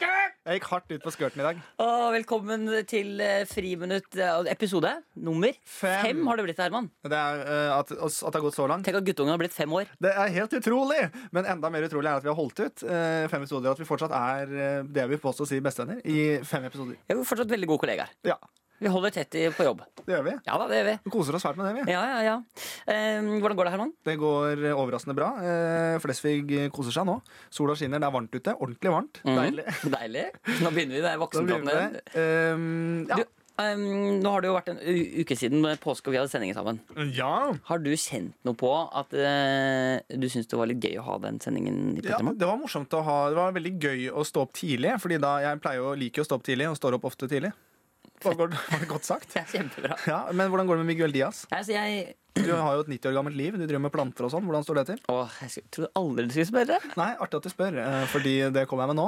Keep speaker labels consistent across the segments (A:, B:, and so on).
A: Jeg gikk hardt ut på skørten i dag.
B: Og velkommen til eh, Friminutt eh, episode nummer
A: Fem.
B: fem. har det blitt, Herman.
A: Det er eh, at, at det har gått så langt.
B: Tenk at guttungen har blitt fem år.
A: Det er helt utrolig! Men enda mer utrolig er at vi har holdt ut eh, fem episoder. og At vi fortsatt er eh, det jeg vil påstå å si bestevenner i fem episoder.
B: Vi er jo fortsatt veldig gode kollegaer.
A: Ja,
B: Vi holder tett i- på jobb.
A: det gjør vi.
B: Ja da, det gjør vi.
A: Vi koser oss svært med det. vi
B: Ja, ja, ja. Eh, hvordan går det, Herman?
A: Det går eh, overraskende bra. Eh, Flesvig koser seg nå. Sola skinner, det er varmt ute. Ordentlig varmt.
B: Mhm.
A: Deilig.
B: Deilig. Nå begynner vi det er
A: Da begynner
B: voksenpraten.
A: vi
B: igjen.
A: med det. Eh, ja.
B: Du, eh, nå har det jo vært en u uke siden påske og vi hadde sending sammen.
A: ja.
B: Har du kjent noe på at eh, du syns det var litt gøy å ha den sendingen i
A: Ja,
B: Petermann?
A: det var morsomt å ha Det var veldig gøy å stå opp tidlig, Fordi da jeg pleier jo å like å stå opp tidlig, og står opp ofte tidlig. Var var det godt sagt?
B: Det er kjempebra.
A: Ja, Men hvordan går det med Miguel Diaz?
B: Nei, altså, jeg,
A: Du har jo et 90 år gammelt liv. Du driver med planter og sånn. Hvordan står det til?
B: åh, jeg skulle- trodde aldri du skulle spørre.
A: Nei, artig at du spør, eh, fordi det kommer jeg med nå.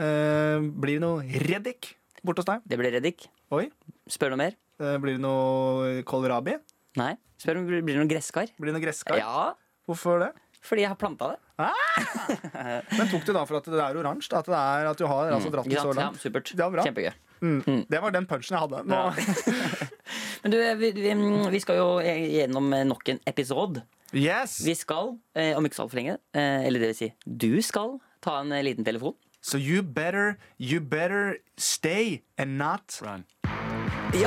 A: Eh, Blir det noe reddik borte hos deg?
B: Det ble Reddik.
A: Oi.
B: Spør noe mer.
A: Eh, Blir det noe kålrabi?
B: Nei. Spør om det blir noen gresskar.
A: Blir det noe gresskar?
B: Ja,
A: Hvorfor det?
B: fordi jeg har planta det.
A: Men tok du da for at det er oransje? da? At, det er, at du har altså, dratt det
B: Ikke
A: så
B: sant? Mm. Ja,
A: langt?
B: supert.
A: Det var bra.
B: Kjempegøy.
A: Mm. Det var den punchen jeg hadde. Nå,
B: Men du, eh, vi, vi, mm, vi skal jo eh, gjennom nok en episode.
A: yes!
B: Vi skal, eh, om ikke så altfor lenge, eh, eller det vil si, du skal ta en eh, liten telefon.
A: So you better, you better stay and not Oi,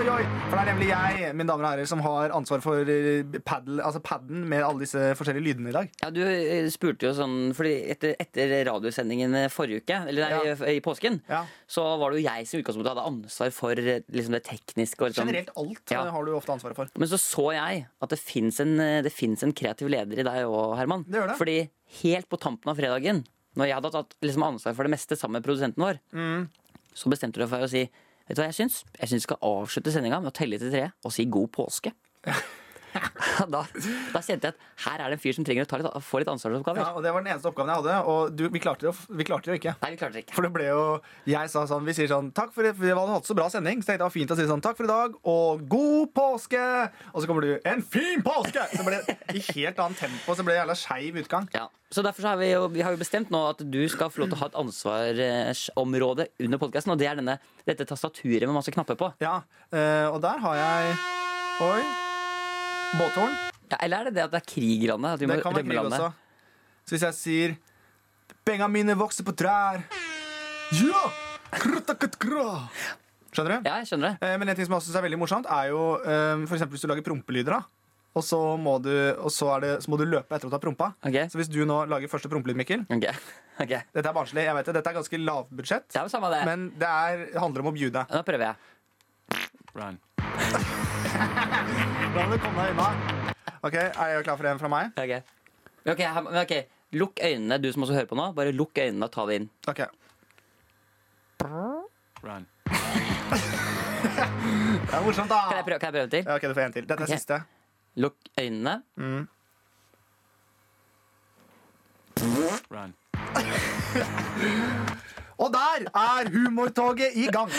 A: oi, oi! For det er nemlig jeg, mine damer og herrer, som har ansvar for eh, paddle, altså padden med alle disse forskjellige lydene i dag.
B: Ja, Du eh, spurte jo sånn fordi etter, etter radiosendingen eh, forrige uke, eller nei,
A: Ja.
B: f- i påsken,
A: Ja.
B: så var det jo jeg som i utgangspunktet hadde ansvar for eh, liksom, det tekniske. Og, liksom.
A: Generelt alt
B: Ja.
A: eh, har du ofte ansvaret for.
B: Men så så jeg at det fins en, eh, det finnes en kreativ leder i deg òg, Herman.
A: Det gjør det.
B: Fordi helt på tampen av fredagen, når jeg hadde tatt liksom ansvar for det meste sammen med produsenten vår,
A: Mm.
B: så bestemte du deg for å si Vet du hva jeg syns? Jeg syns vi skal avslutte sendinga med å telle til tre og si god påske. da, da kjente jeg at her er det en fyr som trenger å ta litt, få litt ansvarsoppgaver.
A: Ja, og Det var den eneste oppgaven jeg hadde, og du, vi, klarte det, jo- vi klarte det jo ikke.
B: Nei, vi klarte det ikke.
A: For det ble jo, jeg sa sånn, Vi sier sånn Takk for det, for vi hadde hatt så bra sending. Så tenkte jeg det var fint å si sånn Takk for i dag, og god påske! Og så kommer du En fin påske! Så ble det i helt annet tempo. Så ble det jævla skeiv utgang.
B: Ja. Så derfor så har vi, jo, vi har jo bestemt nå at du skal få lov til å ha et ansvarsområde under podkasten, og det er denne, dette tastaturet med masse knapper på.
A: Ja, eh, og der har jeg Oi. Båthorn.
B: Ja, eller er det det at det er krig i landet? At vi må
A: Det kan være
B: rømme
A: krig
B: landet?
A: også. Så hvis jeg sier Benga mine vokser på trær. Ja! Krutakatra. Skjønner du?
B: Ja, jeg skjønner det.
A: Eh, Men en ting som jeg også synes er veldig morsomt, er jo eh, for eksempel hvis du lager prompelyder, da. Og så må du, og så er det, så må du løpe etter å ta prompa.
B: Ok.
A: Så hvis du nå lager første prompelyd, Mikkel
B: Ok, ok.
A: Dette er barnslig, jeg vet det. Dette er ganske lavbudsjett.
B: Det er jo samme det. Men...
A: Men det er, handler om å bjude deg.
B: Da prøver jeg.
A: Da må du komme deg unna. Ok, Er jeg klar for en fra meg?
B: Ok, Ok, her- men ok. Lukk øynene, du som også hører på nå. Bare lukk øynene og ta det inn.
A: Ok Det er morsomt, da.
B: Kan jeg prøve, kan jeg prøve en til?
A: Ja, ok, Du får en til. Dette er
B: Ok.
A: siste.
B: Lukk øynene.
A: Og der er humortoget i gang!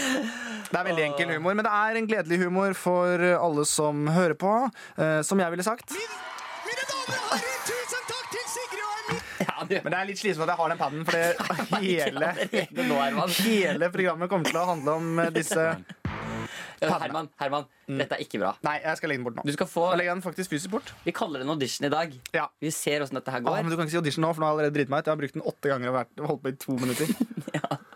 A: Det er veldig enkel humor, men det er en gledelig humor for alle som hører på. Eh, som jeg ville sagt.
C: Mine damer og herrer, tusen takk til Sigrid og Emil!
B: Ja, du
A: Men det er litt slitsomt at jeg har den paden, for det hele,
B: Allerede nå, Herman.
A: hele programmet kommer til å handle om eh, disse
B: Ja, Herman, Herman,
A: Mm.
B: dette er ikke bra.
A: Nei, jeg skal legge den bort
B: Du
A: nå.
B: skal få
A: Jeg legger den faktisk fysisk bort.
B: Vi kaller det en audition i dag.
A: Ja.
B: Vi ser åssen dette
A: Åh,
B: her går.
A: men du kan ikke si audition nå, for nå har jeg allerede driti meg ut. Jeg har brukt den åtte ganger og vært, holdt på i to minutter.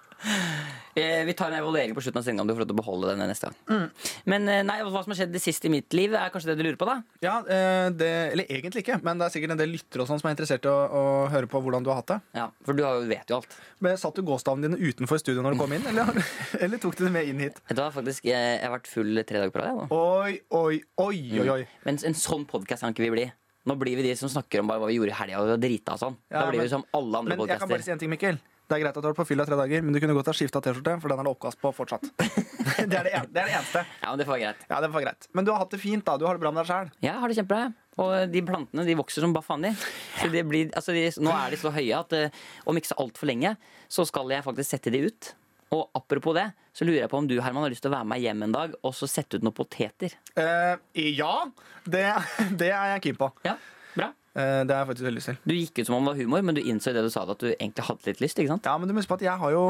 B: Eh, Vi tar en evaluering på slutten av sendinga om du får lov til å beholde den neste gang.
A: Mm.
B: Men eh, nei, hva som har skjedd det siste i mitt liv, er kanskje det du lurer på, da?
A: Ja, eh, det, Eller egentlig ikke, men det er sikkert en del lyttere og sånn som er interessert i å, å høre på hvordan du har hatt det.
B: Ja, For du har jo- vet jo alt.
A: Men Satt du gåstavene dine utenfor studio når du kom inn, eller, eller tok du det med inn hit?
B: Vet du hva, faktisk, eh, jeg har vært full tre dager på rad. jeg, nå.
A: Oi, oi, oi,
B: Mm.
A: oi, oi.
B: Men en sånn podkast kan ikke vi bli. Nå blir vi de som snakker om bare hva vi gjorde i helga og drita og sånn.
A: Ja,
B: da blir
A: men-
B: vi som alle andre
A: Men jeg kan bare
B: podkaster.
A: si en ting, Mikkel. Det er greit at du har vært på fylla i tre dager, men du kunne godt ha skifta T-skjorte, for den er det oppkast på fortsatt. Det er det, en, det er det eneste.
B: Ja, men det får være greit.
A: Ja, det var greit. Men du har hatt det fint, da. Du har det bra med deg sjæl.
B: Jeg har det kjempebra. jeg. Og de plantene de vokser som bare faen, de. Så de blir, altså de, nå er de så høye at eh, om ikke så altfor lenge, så skal jeg faktisk sette de ut. Og apropos det, så lurer jeg på om du Herman, har lyst til å være med meg hjem en dag og så sette ut noen poteter.
A: Eh, ja, det, det er jeg keen på.
B: Ja, bra.
A: Eh, det har jeg faktisk veldig lyst til.
B: Du gikk ut som om det var humor, men du innså i det du sa det at du egentlig hadde litt lyst. ikke sant?
A: Ja, men du må huske på at jeg har jo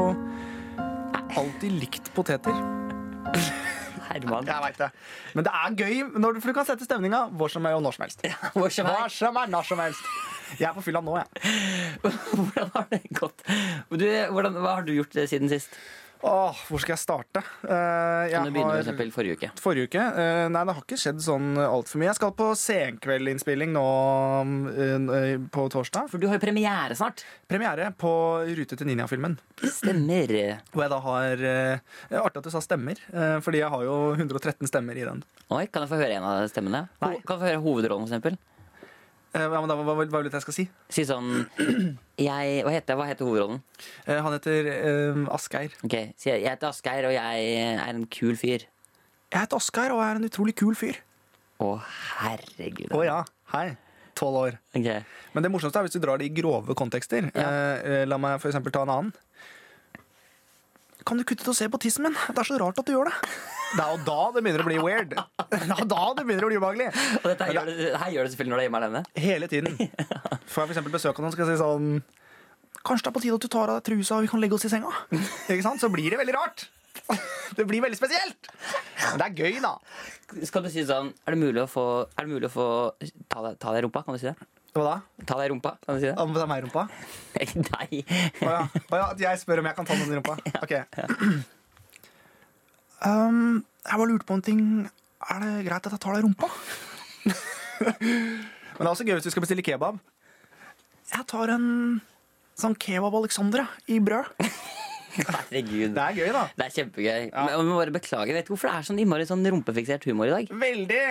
A: alltid likt poteter.
B: Herman.
A: Jeg vet det. Men det er gøy, når du, for du kan sette stemninga hvor som er og når som helst.
B: Hvor som
A: Når
B: er,
A: som er, når som helst. Jeg er på fylla nå, jeg.
B: hvordan har det gått? Du, hvordan, hva har du gjort eh, siden sist?
A: Åh, hvor skal jeg starte? Eh,
B: Kan du
A: jeg
B: begynne for
A: har-
B: eksempel forrige uke?
A: Forrige uke? Eh, nei, det har ikke skjedd sånn altfor mye. Jeg skal på senkveldinnspilling nå eh, på torsdag.
B: For du har jo premiere snart.
A: Premiere på Rute til ninja-filmen.
B: Stemmer.
A: Hvor jeg da har eh, Artig at du sa stemmer, eh, fordi jeg har jo 113 stemmer i den.
B: Oi, kan jeg få høre en av stemmene? Ho
A: Nei.
B: kan jeg få høre hovedrollen, for eksempel?
A: Eh, ja, men da, hva, hva vil du at jeg skal si?
B: Si sånn jeg, hva, heter, jeg? hva heter hovedrollen?
A: Eh, han heter eh, Asgeir.
B: Ok, si jeg, jeg heter Asgeir, og jeg er en kul fyr.
A: Jeg heter Asgeir og er en utrolig kul fyr.
B: Å, herregud.
A: Å ja. Hei. Tolv år.
B: Ok.
A: Men det morsomste er hvis du drar det i grove kontekster.
B: Ja.
A: Eh, eh, la meg for eksempel ta en annen. Kan du kutte ut å se på tissen min? Det er så rart at du gjør det. Det er jo da det begynner å bli weird. Det er da det begynner å bli ubehagelig.
B: Og dette her gjør, det, her gjør det selvfølgelig når du er hjemme alene.
A: Hele tiden. Får jeg for eksempel besøk av noen, skal jeg si sånn Kanskje det er på tide at du tar av deg trusa, og vi kan legge oss i senga? Ikke sant? Så blir det veldig rart. Det blir veldig spesielt. Men det er gøy, da.
B: Skal du si sånn Er det mulig å få, er det mulig å få ta, deg, ta deg i rumpa? Kan du si det?
A: Hva da?
B: Ta deg i rumpa? Kan du si det?
A: Om det er meg i rumpa?
B: Nei.
A: Å ja. Å ja. At jeg spør om jeg kan ta noen i rumpa? Ok. Um, jeg bare lurte på en ting. Er det greit at jeg tar deg i rumpa? Men det er også gøy hvis du skal bestille kebab. Jeg tar en sånn kebab Alexandra i brød.
B: Herregud.
A: Det er gøy, da.
B: Det er kjempegøy. Men og vi må bare beklage. Vet du hvorfor det er sånn innmari sånn rumpefiksert humor i dag?
A: Veldig!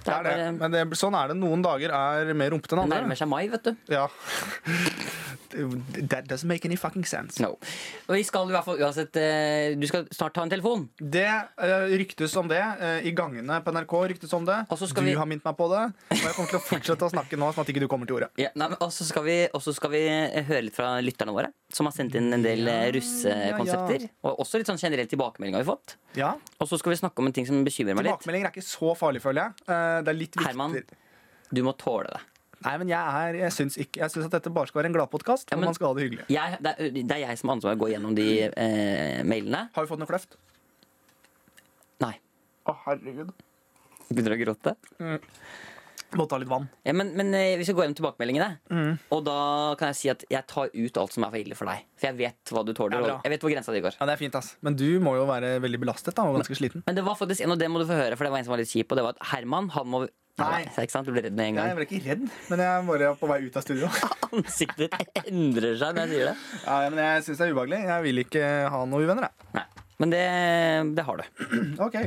A: Det er det.
B: bare-
A: Men det, sånn er det. Noen dager er mer rumpete enn
B: det
A: andre.
B: nærmer seg mai, vet du.
A: Ja. That doesn't make any fucking sense.
B: No. Og vi skal i hvert fall uansett eh, Du skal snart ta en telefon.
A: Det eh, ryktes om det eh, i gangene på NRK. ryktes om det
B: Og så skal
A: Du
B: vi-
A: har minnet meg på det. Og jeg kommer til å fortsette å snakke nå, sånn at ikke du kommer til ordet.
B: Ja, nei, men også skal vi, også skal vi eh, høre litt fra lytterne våre, som har sendt inn en del eh, russekonsepter.
A: ja, ja.
B: Og også litt sånn generell tilbakemelding har vi fått.
A: Ja,
B: Og så skal vi snakke om en ting som bekymrer meg litt.
A: Tilbakemeldinger er ikke så farlig, føler jeg. Eh, det er litt viktig.
B: Herman. Du må tåle det.
A: Nei, men jeg, er, jeg, syns ikke, jeg syns at dette bare skal være en gladpodkast.
B: Ja,
A: hvor
B: men-
A: man skal ha det hyggelig.
B: Jeg, det, er, det er jeg som har ansvaret for å gå gjennom de eh, mailene.
A: Har vi fått noe kløft?
B: Nei.
A: Å, herregud.
B: Begynner du å gråte?
A: Må ta litt vann.
B: Ja, men, men eh, vi skal gå gjennom tilbakemeldingene.
A: Mm.
B: Og da kan jeg si at jeg tar ut alt som er for ille for deg. For jeg vet hva du tåler.
A: Ja, bra.
B: og jeg vet hvor grensa di går.
A: Ja, det er fint, ass. Men du må jo være veldig belastet da, og ganske sliten.
B: Men det var faktisk en, og det må du få høre, for det var en som var litt kjip, og det var at Herman, han må
A: Nei.
B: Ikke sant? Du ble redd med en
A: Nei,
B: gang.
A: jeg ble ikke redd, men jeg var bare på vei ut av studio.
B: Ansiktet ditt endrer seg når jeg sier det.
A: Ja, men jeg syns det er ubehagelig. Jeg vil ikke ha noen uvenner, jeg.
B: Nei. Men det, det har du.
A: Ok.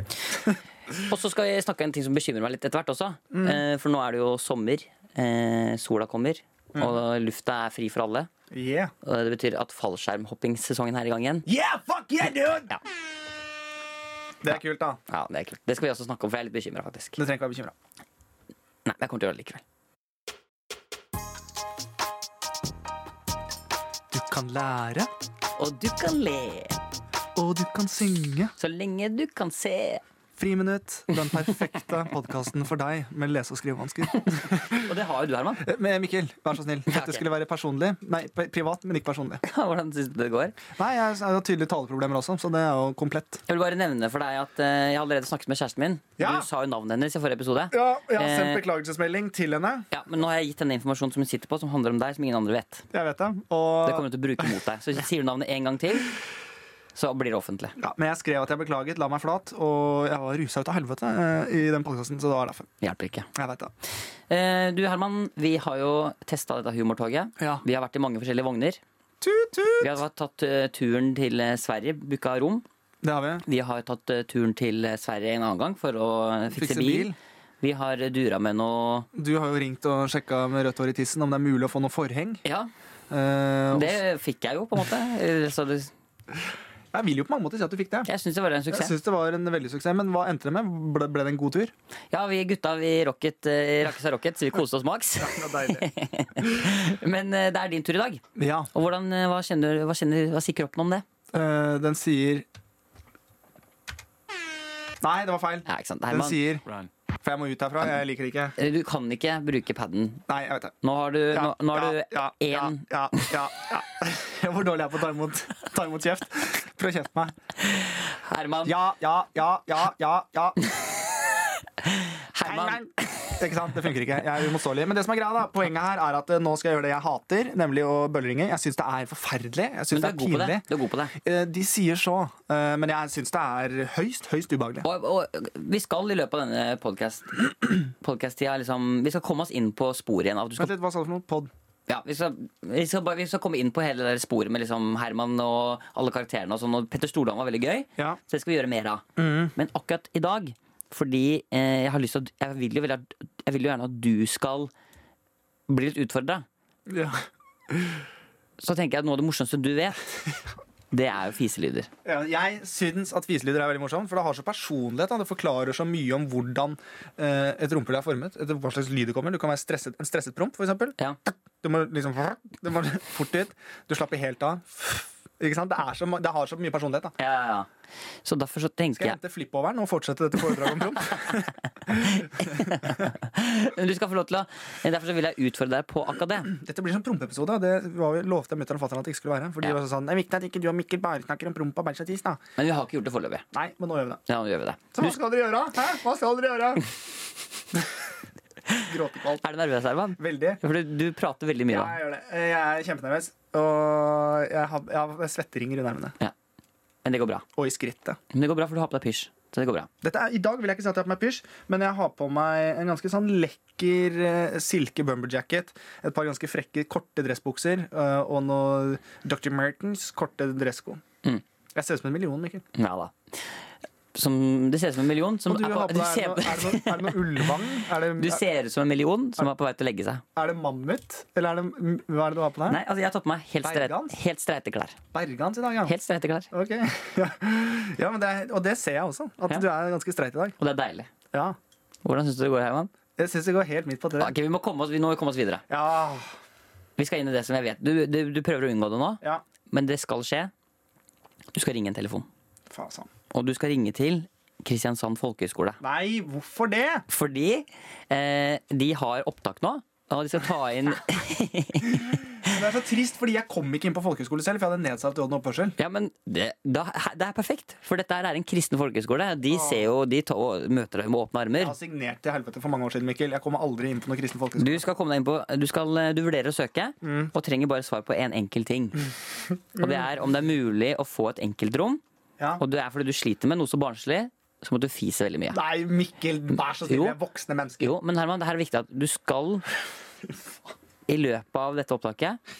B: Og så skal jeg snakke om en ting som bekymrer meg litt etter hvert også.
A: Mm.
B: Eh, for nå er det jo sommer. Eh, sola kommer.
A: Mm.
B: Og lufta er fri for alle.
A: Yeah.
B: Og det betyr at fallskjermhoppingssesongen er i gang igjen.
A: Yeah, fuck yeah, dude! Det er kult, da.
B: Ja, Det er kult. Det skal vi også snakke om, for jeg er litt bekymra, faktisk.
A: Du trenger ikke være bekymra.
B: Nei, men jeg kommer til å gjøre det likevel.
A: Du kan lære,
B: Og du kan le
A: og du kan synge.
B: så lenge du kan se.
A: Friminutt, den perfekte podkasten for deg med lese- og skrivevansker.
B: Og det har jo du, Herman.
A: Men Mikkel, vær så snill.
B: ok.
A: Dette skulle være personlig. Nei, p- privat, men ikke personlig.
B: Hvordan syns du det går?
A: Nei, jeg har tydelige taleproblemer også, så det er jo komplett.
B: Jeg vil bare nevne for deg at eh, jeg har allerede snakket med kjæresten min.
A: Ja.
B: Du sa jo navnet hennes i forrige episode.
A: Ja, jeg
B: har sendt
A: beklagelsesmelding til henne.
B: Ja, Men nå har jeg gitt henne informasjon som hun sitter på, som handler om deg, som ingen andre vet.
A: Jeg vet det. Ah.
B: Det kommer hun til å bruke mot deg. Så sier du navnet en gang til, så blir det offentlig.
A: Ja, men jeg skrev at jeg beklaget, la meg flat, og jeg var rusa ut av helvete eh, i den podkasten, så det var derfor.
B: Det hjelper ikke.
A: Jeg vet det.
B: Eh, du Herman, vi har jo testa dette humortoget.
A: Ja.
B: Vi har vært i mange forskjellige vogner.
A: Tut,
B: Vi
A: tut!
B: har tatt eh, turen til eh, Sverige, booka rom.
A: Det har vi.
B: Vi har tatt eh, turen til eh, Sverige en annen gang for å eh, fikse,
A: Fikse
B: bil.
A: bil.
B: Vi har eh, dura med noe
A: Du har jo ringt og sjekka med rødt hår i tissen om det er mulig å få noe forheng.
B: Ja,
A: Eh, og
B: det
A: s-
B: fikk jeg jo, på en måte. Eh, Så det,
A: Jeg vil jo på mange måter si at du fikk det.
B: jeg syns det var en
A: Jeg
B: suksess.
A: syns det var en veldig suksess, men hva endte det med? Ble, ble det en god tur?
B: Ja, vi gutta vi rocket, eh, rakket seg rocket, så vi koste oss maks. Men eh, det er din tur i dag.
A: Ja.
B: Og hvordan, eh, hva, kjenner, hva, kjenner, hva sier kroppen om det?
A: eh, den sier Nei, det var feil.
B: Ja, ikke sant?
A: Den
B: Herman,
A: sier For jeg må ut herfra. Jeg liker det ikke.
B: eh, du kan ikke bruke paden.
A: Nei, jeg vet det.
B: Nå har du,
A: Ja,
B: nå, nå har
A: ja,
B: du
A: ja,
B: én
A: ja, ja, ja. Hvor dårlig jeg er på å ta imot, ta imot kjeft. for å kjefte meg.
B: Herman.
A: Ja, ja, ja, ja, ja. ja.
B: Herman.
A: Ikke sant? Det funker ikke. Jeg er uimotståelig. Men det som er greia da, poenget her er at eh, nå skal jeg gjøre det jeg hater, nemlig å bølleringe. Jeg syns det er forferdelig. Jeg
B: Men
A: syns
B: du
A: det
B: er
A: er
B: god på det.
A: pinlig.
B: Du er god på det.
A: Eh, De sier så, eh, men jeg syns det er høyst, høyst ubehagelig.
B: Og, og øh, vi skal i løpet av denne podkast-tida liksom, Vi skal komme oss inn på sporet igjen. Av, at du skal,
A: Vent litt, hva sa du for noe? Pod?
B: ja, vi, skal, vi, skal bare, vi skal komme inn på hele det der sporet med liksom Herman og alle karakterene. Og sånn, og Petter Stordalen var veldig gøy,
A: Ja. Mm.
B: så det skal vi gjøre mer av. Men akkurat i dag, fordi eh, jeg har lyst til at, jeg, vil jo veldig at, jeg vil jo gjerne at du skal bli litt utfordra,
A: Ja.
B: så tenker jeg at noe av det morsomste du vet, det er jo fiselyder.
A: Ja, Jeg syns at fiselyder er veldig morsomt, for det har så personlighet. da. Det forklarer så mye om hvordan eh, et rumpehull er formet. Etter hva slags lyd det kommer. Du kan være stresset, en stresset promp, for eksempel.
B: Ja.
A: Du må liksom du må fort ut. Du slapper helt av. Ikke sant? Det, er så, ma- det har så mye personlighet. da
B: Ja, ja, ja. Så derfor så tenker
A: Skal jeg
B: jeg
A: hente flippoveren og fortsette dette foredraget om promp?
B: Men Du skal få lov til å Derfor så vil jeg utfordre deg på akkurat det.
A: Dette blir sånn prompeepisode. og Det var vi lovte mutter'n og fatter'n at det ikke skulle være. For de
B: Ja.
A: var sånn Det er viktig at ikke du og Mikkel bare snakker om promp og bæsj og tiss, da.
B: Men vi har ikke gjort det foreløpig.
A: Nei, men nå gjør vi det.
B: Ja, nå gjør vi det.
A: Så hva skal dere gjøre? Hæ? Hva skal dere gjøre? Gråtekvalt.
B: Er du nervøs, Herman?
A: Veldig.
B: For du, du prater veldig mye.
A: Ja,
B: da.
A: jeg gjør det. Jeg er kjempenervøs. Og jeg har, jeg har svetteringer i nervene.
B: Men det går bra.
A: Og i skrittet.
B: Men det går bra, for du har på deg pysj. Så det går bra.
A: Dette er, I dag vil jeg ikke si at jeg har på meg pysj, men jeg har på meg en ganske sånn lekker eh, silke bumberjacket, et par ganske frekke, korte dressbukser eh, og noe Dr. Mertens korte dressko.
B: Mm.
A: Jeg ser ut som en million, Mikkel.
B: Ja da. Som, det ser ut som en million. Som
A: Og du
B: er på,
A: har på
B: du,
A: deg er
B: ser,
A: det noe, er det noe, er det noe ullvang? Er
B: du
A: det,
B: ser ut som en million som er på vei til å legge seg.
A: er det mammut? Eller er det, hva er det du har på deg?
B: Nei, altså jeg har tatt på meg helt, streit,
A: Bergans?
B: helt streite klær.
A: Bergans i dag, ja.
B: Helt streite klær.
A: Ok. Ja, ja men det er, Og det ser jeg også, at
B: Ja.
A: du er ganske streit i dag.
B: Og det er deilig.
A: Ja.
B: Hvordan syns du det går, Herman?
A: Jeg syns det går helt midt på
B: Ja,
A: treet.
B: ok, vi må komme oss, vi, nå må vi komme oss videre.
A: Ja.
B: Vi skal inn i det som jeg vet. Du, du, du prøver å unngå det nå,
A: ja.
B: men det skal skje. Du skal ringe en telefon.
A: Faen sånn. sann.
B: Og du skal ringe til Kristiansand folkehøgskole.
A: Nei, hvorfor det?
B: Fordi eh, de har opptak nå, og de skal ta inn
A: Det er så trist, fordi jeg kom ikke inn på folkehøyskole selv, for jeg hadde nedsatt døden oppførsel.
B: Ja, men det, da, det er perfekt, for dette her er en kristen folkehøgskole. De ser jo, de tar, og møter deg med åpne
A: Jeg
B: armer.
A: har signert til helvete for mange år siden, Mikkel. Jeg kommer aldri inn på noen kristen folkehøyskole.
B: Du skal komme deg inn på Du, skal, eh, du vurderer å søke, og trenger bare svar på én en enkel ting. Og det er om det er mulig å få et enkeltrom,
A: Ja.
B: og det er fordi du sliter med noe så barnslig, så må du fise veldig mye.
A: Nei, Mikkel, vær så snill.
B: Jo.
A: Vi er voksne mennesker.
B: Jo, men Herman, det her er viktig at du skal i løpet av dette opptaket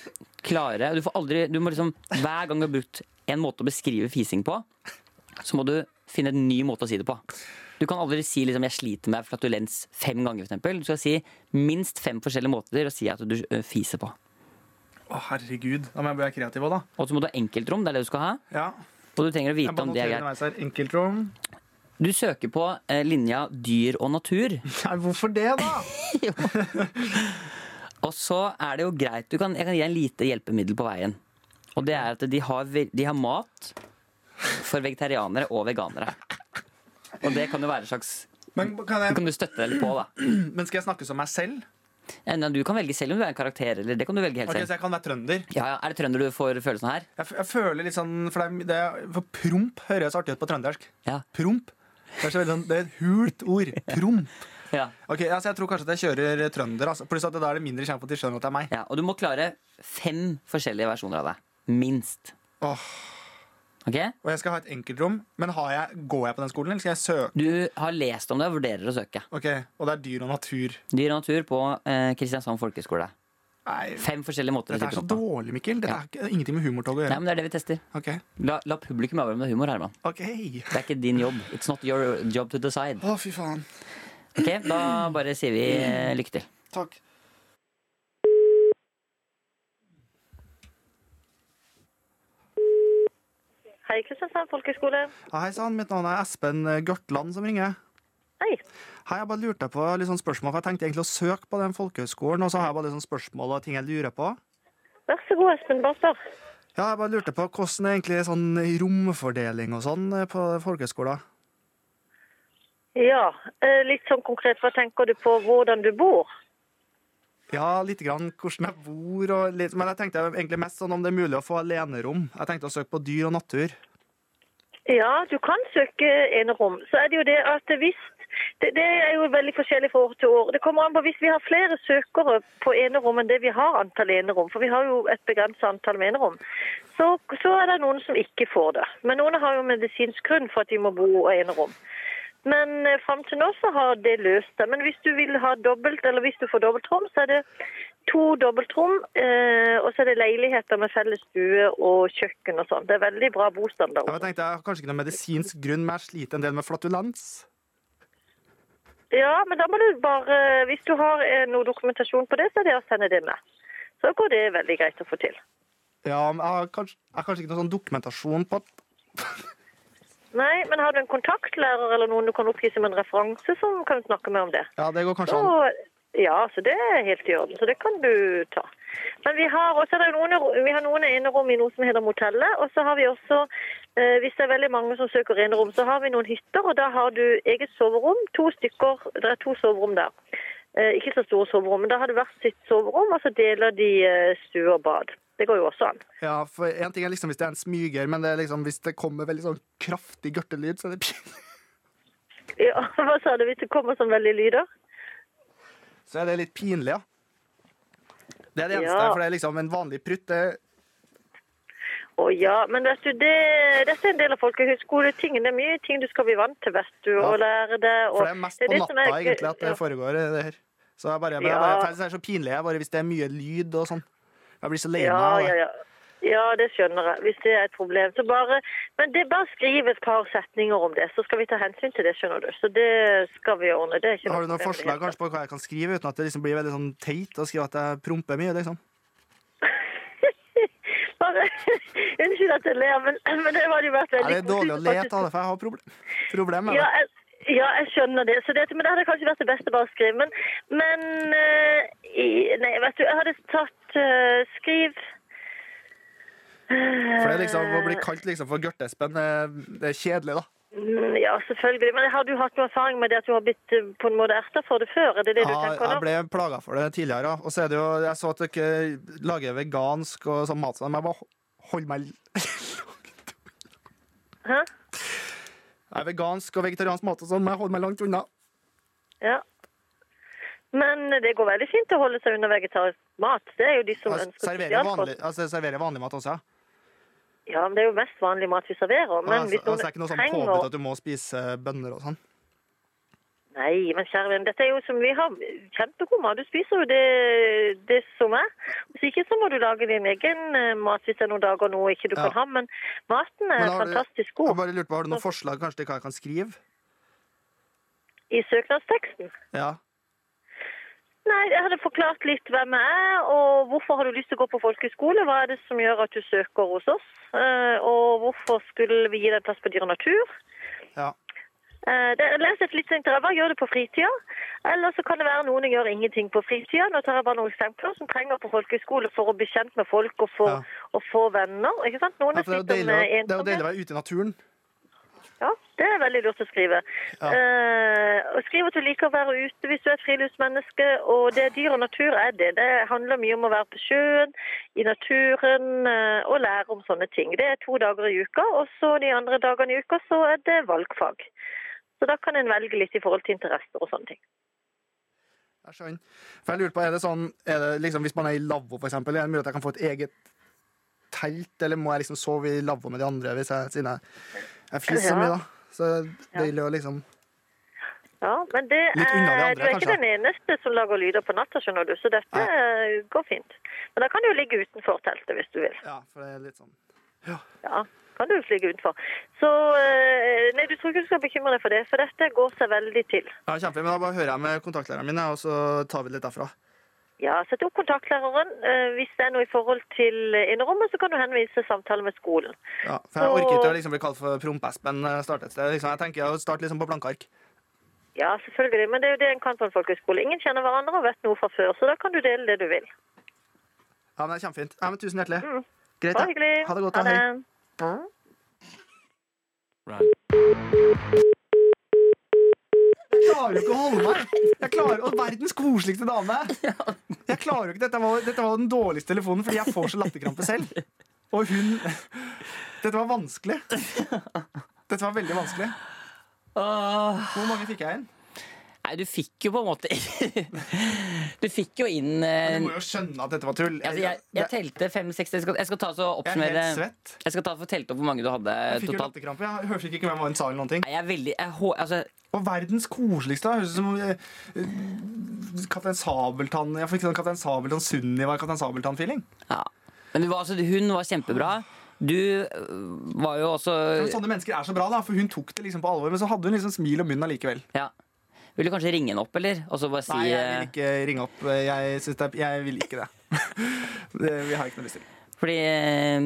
B: klare Du får aldri Du må liksom Hver gang du har brukt en måte å beskrive fising på, så må du finne en ny måte å si det på. Du kan aldri si liksom, 'jeg sliter med flatulens' fem ganger. For eksempel. du skal si minst fem forskjellige måter å si at du ø, fiser på.
A: Å, herregud. Da må jeg være kreativ òg, da.
B: Og så må du ha enkeltrom. Det er det du skal ha.
A: Ja.
B: Og du trenger å
A: Jeg
B: vite
A: bare
B: om det er
A: noterer
B: greit.
A: underveis her. Enkeltrom.
B: Du søker på eh, linja 'dyr og natur'.
A: Nei, hvorfor det, da?
B: Og så er det jo greit du kan, Jeg kan gi deg en lite hjelpemiddel på veien. Og det er at de har, ve- de har mat for vegetarianere og veganere. Og det kan jo være en slags
A: Men, kan
B: Det
A: jeg,
B: kan du støtte deg litt på, da.
A: men skal jeg snakke som meg selv?
B: Ja, men Du kan velge selv om du er en karakter, eller det kan du velge helt
A: Ok,
B: selv.
A: Så jeg kan være trønder?
B: Ja, ja, Er det trønder du får følelsen av her?
A: Jeg, f jeg føler litt sånn For, det, er- det, er- for promp høres så artig ut på trøndersk.
B: Ja.
A: Promp. Det er, så veldig, sånn- det er et hult ord. Promp.
B: ja.
A: Ok, altså Jeg tror kanskje at jeg kjører trønder. Altså. Pluss at det da er det mindre sjanse for at de skjønner at det er meg.
B: ja. Og du må klare fem forskjellige versjoner av deg. Minst.
A: Åh.
B: Ok?
A: Og jeg skal ha et enkeltrom, men har jeg, går jeg på den skolen, eller skal jeg søke?
B: Du har lest om det og vurderer å søke.
A: Ok, Og det er dyr og natur.
B: Dyr og natur på eh, Kristiansand folkehøgskole.
A: Nei,
B: Fem forskjellige måter å
A: Dette
B: si
A: er så
B: prompt på.
A: dårlig, Mikkel. Dette er ikke, ingenting med humortog å
B: Nei,
A: gjøre.
B: men Det er det vi tester.
A: Ok,
B: La, la publikum avgjøre om det er humor, Herman.
A: ok
B: Det er ikke din jobb. It's not your job to decide.
A: Å, fy faen.
B: Ok, Da bare sier vi eh, lykke til.
A: Takk.
D: Hei, Kristiansand folkehøgskole.
A: Ja, Hei sann, mitt navn er Espen eh, Gørtland som ringer.
D: Hei.
A: Hei, jeg bare lurte på litt sånn spørsmål, for jeg tenkte egentlig å søke på den folkehøgskolen, og så har jeg bare litt sånn spørsmål og ting jeg lurer på.
D: Vær så god, Espen. Bare spør.
A: Ja, jeg bare lurte på hvordan er egentlig sånn romfordeling og sånn eh, på folkehøgskolen?
D: Ja, eh, litt sånn konkret, hva tenker du på hvordan du bor?
A: Ja, litt grann hvordan jeg bor og litt, Men jeg tenkte egentlig mest sånn om det er mulig å få alenerom. Jeg tenkte å søke på dyr og natur.
D: Ja, du kan søke enerom. Så er det jo det at hvis det, det er jo veldig forskjellig fra år til år. Det kommer an på Hvis vi har flere søkere på enerom enn det vi har antall enerom, for vi har jo et begrenset antall med enerom, så, så er det noen som ikke får det. Men noen har jo medisinsk grunn for at de må bo i enerom. Men eh, fram til nå så har det løst det. Men hvis du vil ha dobbelt, eller hvis du får dobbeltrom, så er det to dobbeltrom, eh, og så er det leiligheter med felles stue og kjøkken og sånn. Det er veldig bra bostandard.
A: Jeg tenkte, jeg har kanskje ikke noen medisinsk grunn, men jeg sliter en del med flatulens.
D: Ja, men da må du bare Hvis du har eh, noe dokumentasjon på det, så er det å sende det med. Så går det veldig greit å få til.
A: Ja, men jeg har kanskje, jeg har kanskje ikke noen sånn dokumentasjon på at
D: Nei, men har du en kontaktlærer eller noen du kan oppgi som en referanse, så kan vi snakke med om det.
A: Ja, det går kanskje an.
D: Så, ja, så det er helt i orden. Så det kan du ta. Men vi har også det er noen, vi har noen enerom i noe som heter motellet. Og så har vi også, eh, hvis det er veldig mange som søker enerom, så har vi noen hytter. Og da har du eget soverom. To stykker. Det er to soverom der. Eh, ikke så store soverom, men da har det hvert sitt soverom, og så deler de eh, stue og bad. Det går jo også an.
A: Ja, for en ting er liksom hvis det er en smyger, men det er liksom, hvis det kommer veldig sånn kraftig gørtelyd, så er det pinlig.
D: Ja, hva sa du hvis det kommer sånn veldig lyder?
A: så er det litt pinlig, ja. Det er det eneste,
D: Ja.
A: for det er liksom en vanlig prutt. Det,
D: Å ja, men vet du, det, dette er en del av folkehøyskoletingen. Det er mye ting du skal bli vant til, vet du, og lære det. Og
A: for det er mest på
D: det som
A: natta
D: er-
A: egentlig at det
D: ja.
A: foregår, eh, det her. Så jeg bare, men jeg
D: Ja.
A: bare, jeg, det er så pinlig, jeg bare, hvis det er mye lyd og sånn. Jeg blir så lei
D: Ja,
A: meg.
D: ja, ja. Ja, det skjønner jeg. Hvis det er et problem. Så bare, men det bare skriv et par setninger om det, så skal vi ta hensyn til det, skjønner du. Så det skal vi ordne. Det er ikke
A: Har du
D: noe
A: noen
D: problem.
A: forslag kanskje på hva jeg kan skrive, uten at det liksom blir veldig sånn teit å skrive at jeg promper mye, liksom?
D: Bare, unnskyld at jeg ler, men, men det var jo vært
A: Er
D: veldig
A: det er dårlig å
D: koselig
A: le
D: faktisk-
A: av det, for jeg har problem, problem med
D: Ja,
A: det.
D: jeg, ja, jeg skjønner det. Så det, men det hadde kanskje vært det beste bare å skrive. Men, men eh, i, Nei, vet du, jeg hadde tatt eh, Skriv
A: For det er
D: eh.
A: liksom, å bli kalt liksom for gørtespenn, det- det er kjedelig, da.
D: Mm, Ja, selvfølgelig. Men har du hatt noe erfaring med det at du har blitt eh, på en måte erta for det før? Er det det du
A: Ja,
D: tenker
A: jeg
D: nå?
A: ble plaga for det tidligere. ja. Og så er det jo, jeg så at dere lager vegansk og sånn mat, så jeg bare holder meg langt
D: Hæ?
A: Nei, Vegansk og vegetariansk mat og sånn, men jeg holder meg langt unna.
D: Ja. Men det går veldig fint å holde seg under vegetarisk mat. Det er jo de som
A: Jeg
D: ønsker
A: serverer
D: spesialkost.
A: vanlig, altså, jeg serverer vanlig mat også, ja.
D: Ja, men det er jo mest vanlig mat vi serverer.
A: Men
D: Men
A: altså,
D: hvis
A: altså, det er ikke
D: noen
A: noe sånn
D: trenger
A: påbudt at du må spise bønner og sånn.
D: Nei, men kjære venn, dette er jo som vi har kjempegod mat. Du spiser jo det, det som er. Hvis ikke så må du lage din egen eh, mat hvis det er noen dager nå ikke du
A: Ja.
D: kan ha. Men maten er
A: Men har du-
D: fantastisk
A: Jeg
D: god
A: bare lurte på, Har du noen forslag kanskje til hva jeg kan skrive?
D: i søknadsteksten.
A: Ja.
D: Nei, jeg hadde forklart litt hvem jeg er, og hvorfor har du lyst til å gå på folkehøyskole? Hva er det som gjør at du søker hos oss? Eh, Og hvorfor skulle vi gi deg plass på dyr og natur?
A: ja.
D: Eh, Det er les et litt sentere. Hva gjør du på fritida? Eller så kan det være noen som gjør ingenting på fritida. Nå tar jeg bare noen eksempler som trenger på folkehøyskole for å bli kjent med folk og få,
A: Ja.
D: og få venner. Ikke sant? Noen
A: Ja,
D: er
A: for det er jo
D: sliter
A: deilig,
D: med
A: å- det er jo deilig å
D: ensomhet.
A: være ute i naturen.
D: Ja, det er veldig lurt å skrive.
A: Ja.
D: Eh, og skriv at du liker å være ute hvis du er et friluftsmenneske. Og det dyr og natur er det. Det handler mye om å være på sjøen, i naturen eh, og lære om sånne ting. Det er to dager i uka, og så de andre dagene i uka så er det valgfag. Så da kan en velge litt i forhold til interesser og sånne ting.
A: Jeg skjønner. For jeg lurer på, er det sånn, er det liksom, Hvis man er i lavvo, for eksempel, er det mulig at jeg kan få et eget telt? Eller må jeg liksom sove i lavvo med de andre, hvis jeg, siden jeg, jeg fiser så
D: Ja.
A: mye? da? Så det er deilig å liksom
D: Ja, men det
A: Litt unna de
D: er,
A: andre,
D: du er ikke
A: kanskje?
D: den eneste som lager lyder på natta, skjønner du. Så dette eh, går fint. Men da kan du jo ligge utenfor teltet hvis du vil.
A: Ja, for det er litt sånn
D: Ja, kan du flyge utenfor. Så eh, Nei, du tror ikke du skal bekymre deg for det, for dette går seg veldig til.
A: Ja, kjempefint. Men da bare hører jeg med kontaktlæreren min, jeg, og så tar vi det litt derfra.
D: Ja, Sett opp kontaktlæreren. Eh, Hvis det er noe i forhold til innerommet, så kan du henvise samtale med skolen.
A: Ja, for jeg orker ikke å liksom bli kalt for Promp-Espen når jeg starter et sted. Liksom. Jeg tenker å starte liksom på blanke ark.
D: Ja, selvfølgelig, men det er jo det en kan på en folkehøyskole. Ingen kjenner hverandre og vet noe fra før, så da kan du dele det du vil.
A: Ja, men det er kjempefint. Ja, men tusen hjertelig. Greit, ja.
D: Bare hyggelig.
A: Mm. Ha det godt. da. Hei.
B: Run.
A: Jeg klarer jo ikke å holde meg. Jeg klarer, og verdens koseligste dame. Jeg klarer jo ikke, Dette var, dette var den dårligste telefonen, fordi jeg får så latterkrampe selv. Og hun Dette var vanskelig. Dette var veldig vanskelig.
B: Åh.
A: Hvor mange fikk jeg inn?
B: Nei, du fikk jo på en måte Du fikk jo inn eh,
A: Du må jo skjønne at dette var tull.
B: altså, jeg, jeg
A: det-
B: telte fem, seks Jeg skal, jeg skal ta så
A: jeg er
B: oppsummere
A: helt svett.
B: Jeg skal ta for telte opp hvor mange du hadde
A: Jeg fikk jo
B: eh, totalt.
A: latterkrampe. Jeg hørte ikke hvem han sa. eller noen ting
B: Nei, jeg er veldig jeg, hå- altså,
A: Og verdens koseligste. da. Høres ut som eh, Kaptein Sabeltann Jeg fikk sånn Kaptein Sabeltann Sunniva Kaptein Sabeltann-feeling.
B: ja. Men du var, altså, hun var kjempebra. Du øh, var jo også
A: Men Sånne mennesker er så bra, da for hun tok det liksom på alvor. Men så hadde hun liksom smil om munnen allikevel.
B: ja. Vil du kanskje ringe henne opp, eller? Og så bare si
A: Nei, jeg vil
B: eh,
A: ikke ringe opp. Jeg, synes det er, jeg vil ikke det. det. Vi har ikke noe lyst til.
B: Fordi eh,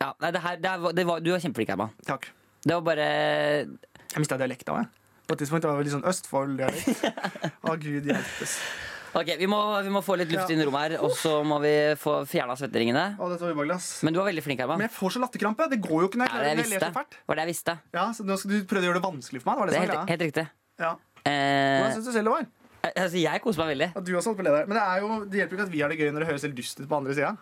B: Ja, nei, det her det her var, det var, Du var kjempeflink, Herman.
A: Takk.
B: Det var bare
A: Jeg mista dialekta mi. På et tidspunkt det var det litt sånn Østfold-dialekt. Å, gud hjelpes.
B: Ok, vi må, vi må få litt luft
A: Ja.
B: inn i rommet her, og så må vi få fjerna svetteringene.
A: Å, dette var ubehagelig, ass. Men,
B: Men du var veldig flink, Herman.
A: jeg får så latterkrampe. Det går jo ikke når
B: Ja, det
A: jeg, klarer, jeg ler
B: jeg visste.
A: så fælt.
B: var det jeg visste.
A: Ja, så nå skal du prøve å gjøre det vanskelig for meg? Var det
B: Det
A: som
B: er
A: var
B: helt,
A: greia?
B: helt riktig.
A: Ja. Hvordan
B: Eh,
A: syns du selv det var?
B: altså, jeg koser meg veldig.
A: At du også holdt på å le der. Men det, er jo, det hjelper jo ikke at vi har det gøy når det høres helt dust ut på andre sida.